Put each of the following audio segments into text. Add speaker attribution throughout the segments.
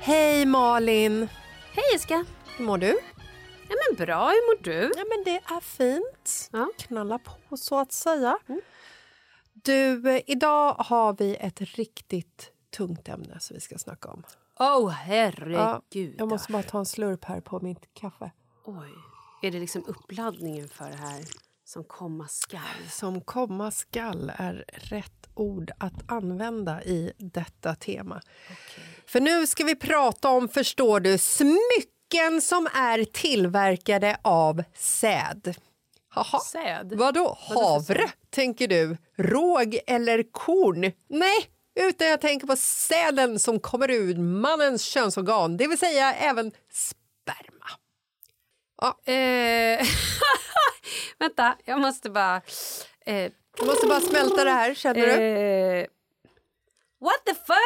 Speaker 1: Hej, Malin!
Speaker 2: Hej Iska!
Speaker 1: Hur mår du?
Speaker 2: Ja men bra, hur mår du?
Speaker 1: Ja, men det är fint.
Speaker 2: Ja.
Speaker 1: Knalla på, så att säga. Du, eh, idag har vi ett riktigt tungt ämne som vi ska snacka om.
Speaker 2: Åh oh,
Speaker 1: Ja,
Speaker 2: herregud!
Speaker 1: jag måste bara ta en slurp här på mitt kaffe.
Speaker 3: Oj. Är det liksom uppladdningen för det
Speaker 1: Mm.
Speaker 3: här som komma skall?
Speaker 1: Som komma skall är rätt ord att använda i detta tema. För nu ska vi prata om, förstår du, smycken som är tillverkade av säd. Haha.
Speaker 3: Säd?
Speaker 1: Vadå havre, tänker du? Råg eller korn? Nej, utan jag tänker på säden som kommer ur mannens könsorgan, det vill säga även sperma.
Speaker 3: Eh, vänta, jag måste bara... Eh,
Speaker 1: Jag måste bara smälta det här, känner du?
Speaker 3: eh,
Speaker 2: What the fuck?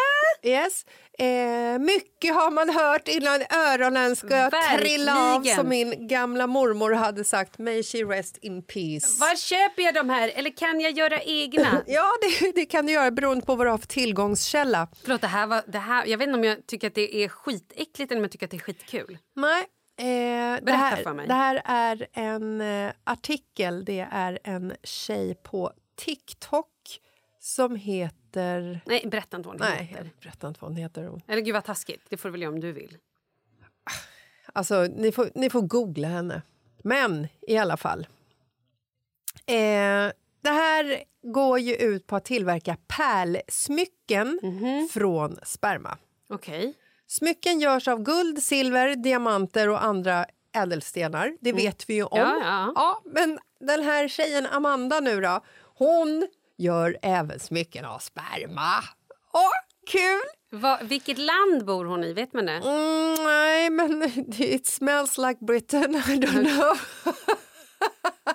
Speaker 1: Yes. Eh, mycket har man hört innan öronen ska
Speaker 2: Verkligen.
Speaker 1: trilla av som min gamla mormor hade sagt. May she rest in peace.
Speaker 2: Var köper jag de här? Eller kan jag göra egna?
Speaker 1: Ja, det, det kan du göra beroende på vad du har för tillgångskälla.
Speaker 3: Förlåt, det här var, det här, jag vet inte om jag tycker att det är skitäckligt eller om jag tycker att det är skitkul.
Speaker 1: Nej, eh, det,
Speaker 3: Berätta
Speaker 1: här,
Speaker 3: för mig.
Speaker 1: det här är en eh, artikel. Det är en tjej på TikTok som heter...
Speaker 3: Nej, berätta inte vad den
Speaker 1: Nej, jag
Speaker 3: heter.
Speaker 1: berättar inte vad hon heter. Hon-
Speaker 3: Eller gud vad taskigt, det får du väl göra om du vill.
Speaker 1: Alltså, ni får, ni får googla henne. Men i alla fall. Eh, det här går ju ut på att tillverka pärlsmycken
Speaker 3: Mhm.
Speaker 1: från sperma.
Speaker 3: Okej.
Speaker 1: Smycken görs av guld, silver, diamanter och andra ädelstenar. Det vet vi ju om.
Speaker 3: Mm. Ja, ja.
Speaker 1: men den här tjejen Amanda nu då, hon gör även smycken av sperma. Åh, kul!
Speaker 3: Vad- Vilket land bor hon i? Vet man det?
Speaker 1: Mm, nej, men it smells like Britain, I don't know.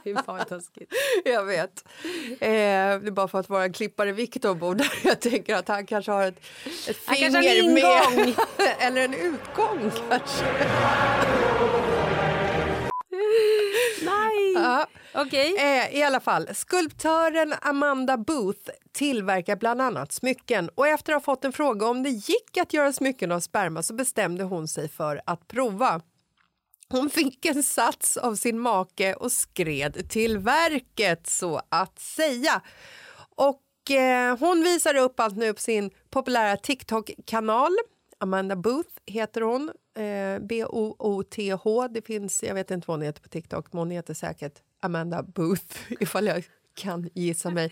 Speaker 3: Fy fan, vad taskigt.
Speaker 1: Jag vet. Eh, det är bara för att vår klippare Viktor bor där. Jag tänker att han kanske har ett, ett
Speaker 3: Han kanske
Speaker 1: finger
Speaker 3: har en
Speaker 1: med. Eller en utgång kanske.
Speaker 3: Nej!
Speaker 1: Ja.
Speaker 3: Okej.
Speaker 1: Eh, I alla fall, skulptören Amanda Booth tillverkar bland annat smycken och efter att ha fått en fråga om det gick att göra smycken av sperma så bestämde hon sig för att prova. Hon fick en sats av sin make och skred till verket, så att säga. Och eh, hon visar upp allt nu på sin populära TikTok-kanal. Amanda Booth heter hon. Eh, B-O-O-T-H. Det finns, jag vet inte vad hon heter på TikTok, men hon heter säkert Amanda Booth ifall jag kan gissa mig.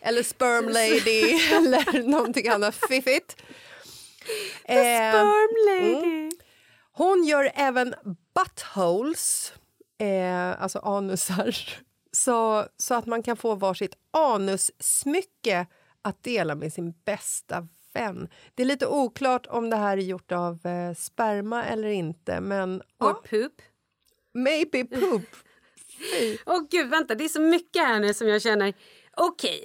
Speaker 1: Eller Sperm Lady eller någonting annat fiffigt. Eh, hon gör även buttholes, eh, alltså anusar så, så att man kan få varsitt anussmycke att dela med sin bästa vän. Det är lite oklart om det här är gjort av eh, sperma eller inte, men
Speaker 3: Or
Speaker 1: ja,
Speaker 3: poop.
Speaker 1: maybe poop.
Speaker 3: Åh gud, vänta. Det är så mycket här nu som jag känner. Okej.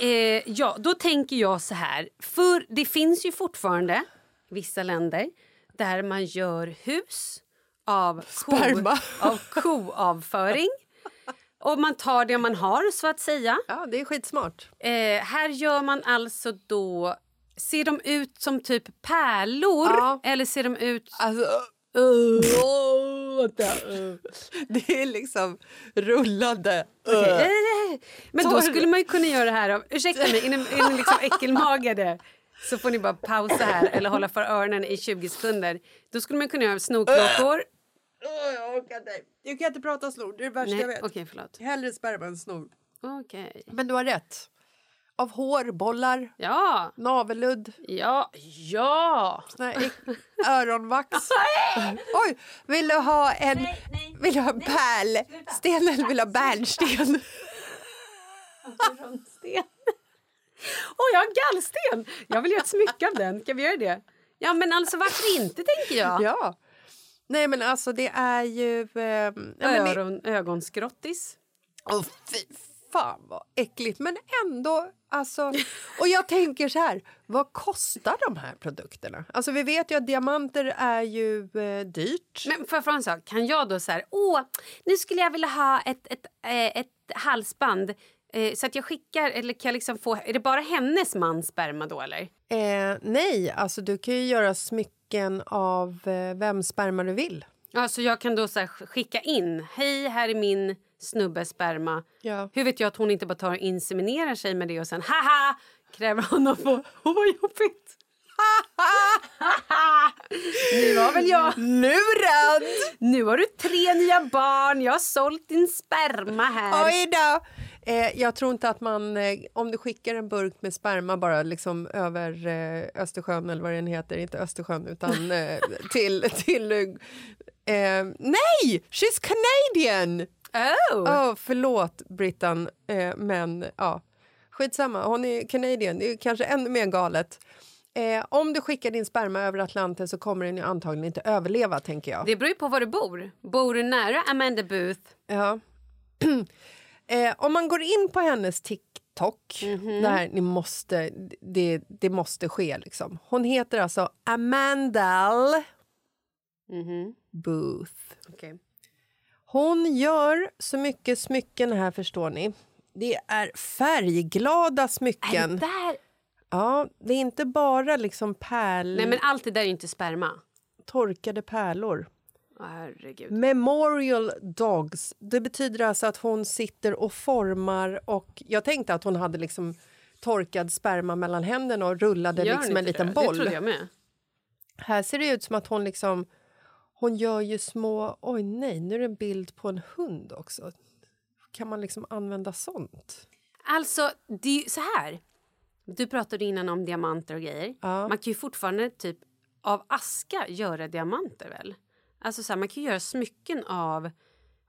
Speaker 3: Eh, ja, då tänker jag så här. För det finns ju fortfarande vissa länder där man gör hus av, ko,
Speaker 1: Sperma.
Speaker 3: av koavföring. Och man tar det man har, så att säga.
Speaker 1: Ja, det är skitsmart.
Speaker 3: Eh, här gör man alltså då... Ser de ut som typ pärlor
Speaker 1: Ja.
Speaker 3: eller ser de ut...
Speaker 1: Alltså, uh, åh, vänta, uh. det är liksom rullande. Uh.
Speaker 3: Eh, eh, Men då
Speaker 1: Tar-
Speaker 3: skulle man ju kunna göra det här av... Ursäkta mig, är ni, är ni liksom äckelmagade? Så får ni bara pausa här eller hålla för öronen i 20 sekunder. Då skulle man kunna göra
Speaker 1: Äh,
Speaker 3: snorkråkor.
Speaker 1: Åh, jag orkar inte. Du kan inte prata snor, det är det värsta
Speaker 3: Nej,
Speaker 1: jag vet.
Speaker 3: okej, förlåt.
Speaker 1: Hellre sperma än snor.
Speaker 3: Okej.
Speaker 1: Men du har rätt. Av hår, bollar,
Speaker 3: Ja,
Speaker 1: navelludd,
Speaker 3: ja, ja!
Speaker 1: såna här äck- öronvax. Oj! Vill du ha en, vill du ha en pärlsten eller vill du ha bärnsten?
Speaker 3: Sten. Åh, jag har en gallsten! Jag vill göra ett smycke av den. Kan vi göra det? Ja, men alltså varför inte, tänker jag.
Speaker 1: Ja. Nej men alltså det är ju... Eh, ja, men det,
Speaker 3: Öron, ögonskrottis.
Speaker 1: oh, fy fan vad äckligt. Men ändå alltså. Och jag tänker så här, vad kostar de här produkterna? Alltså vi vet ju att diamanter är ju eh, dyrt.
Speaker 3: Men för, för en sak, kan jag då så här, åh, nu skulle jag vilja ha ett, ett, eh, ett halsband eh, så att jag skickar, eller kan jag liksom få, är det bara hennes mans sperma då eller?
Speaker 1: Eh, nej, alltså du kan ju göra smycken av eh, vem sperma du vill.
Speaker 3: Ja, så jag kan då så här, skicka in, hej här är min snubbes sperma.
Speaker 1: Ja.
Speaker 3: Hur vet jag att hon inte bara tar och inseminerar sig med det och sen haha kräver honom på, åh vad jobbigt. nu var väl jag,
Speaker 1: Lurad!
Speaker 3: nu har du tre nya barn, jag har sålt din sperma här.
Speaker 1: Oj då! Eh, jag tror inte att man... Eh, om du skickar en burk med sperma bara liksom över eh, Östersjön eller vad den heter, inte Östersjön utan eh, till... till eh, eh, nej! She's Canadian!
Speaker 3: Oh.
Speaker 1: Oh, förlåt, Brittan, eh, men ja. Skitsamma, hon är Canadian. Det är kanske ännu mer galet. Eh, om du skickar din sperma över Atlanten så kommer den ju antagligen inte överleva, tänker jag.
Speaker 3: Det beror ju på var du bor. Bor du nära Amanda Booth?
Speaker 1: Ja. eh, om man går in på hennes TikTok TikTok. Det här, ni måste, det, det måste ske. Liksom. Hon heter alltså Amandal Booth.
Speaker 3: Okej.
Speaker 1: Hon gör så mycket smycken här, förstår ni. Det är färgglada
Speaker 3: Är det
Speaker 1: smycken.
Speaker 3: där?
Speaker 1: Ja, det är inte bara liksom pärl,
Speaker 3: Nej, men allt det där är ju inte sperma.
Speaker 1: torkade pärlor.
Speaker 3: Åh,
Speaker 1: Mm,
Speaker 3: herregud.
Speaker 1: Memorial Dogs. Det betyder alltså att hon sitter och formar... och Jag tänkte att hon hade liksom torkad sperma mellan händerna och rullade
Speaker 3: Gör
Speaker 1: liksom
Speaker 3: ni
Speaker 1: en
Speaker 3: inte
Speaker 1: liten
Speaker 3: det? Det
Speaker 1: boll.
Speaker 3: trodde jag med.
Speaker 1: Här ser det ut som att hon liksom... Hon gör ju små... Oj, nej, nu är det en bild på en hund också. Kan man liksom använda sånt?
Speaker 3: Alltså, det är ju så här. Du pratade innan om diamanter och grejer.
Speaker 1: Ja.
Speaker 3: Man kan ju fortfarande typ av aska göra diamanter väl? Alltså så här, man kan ju göra smycken av...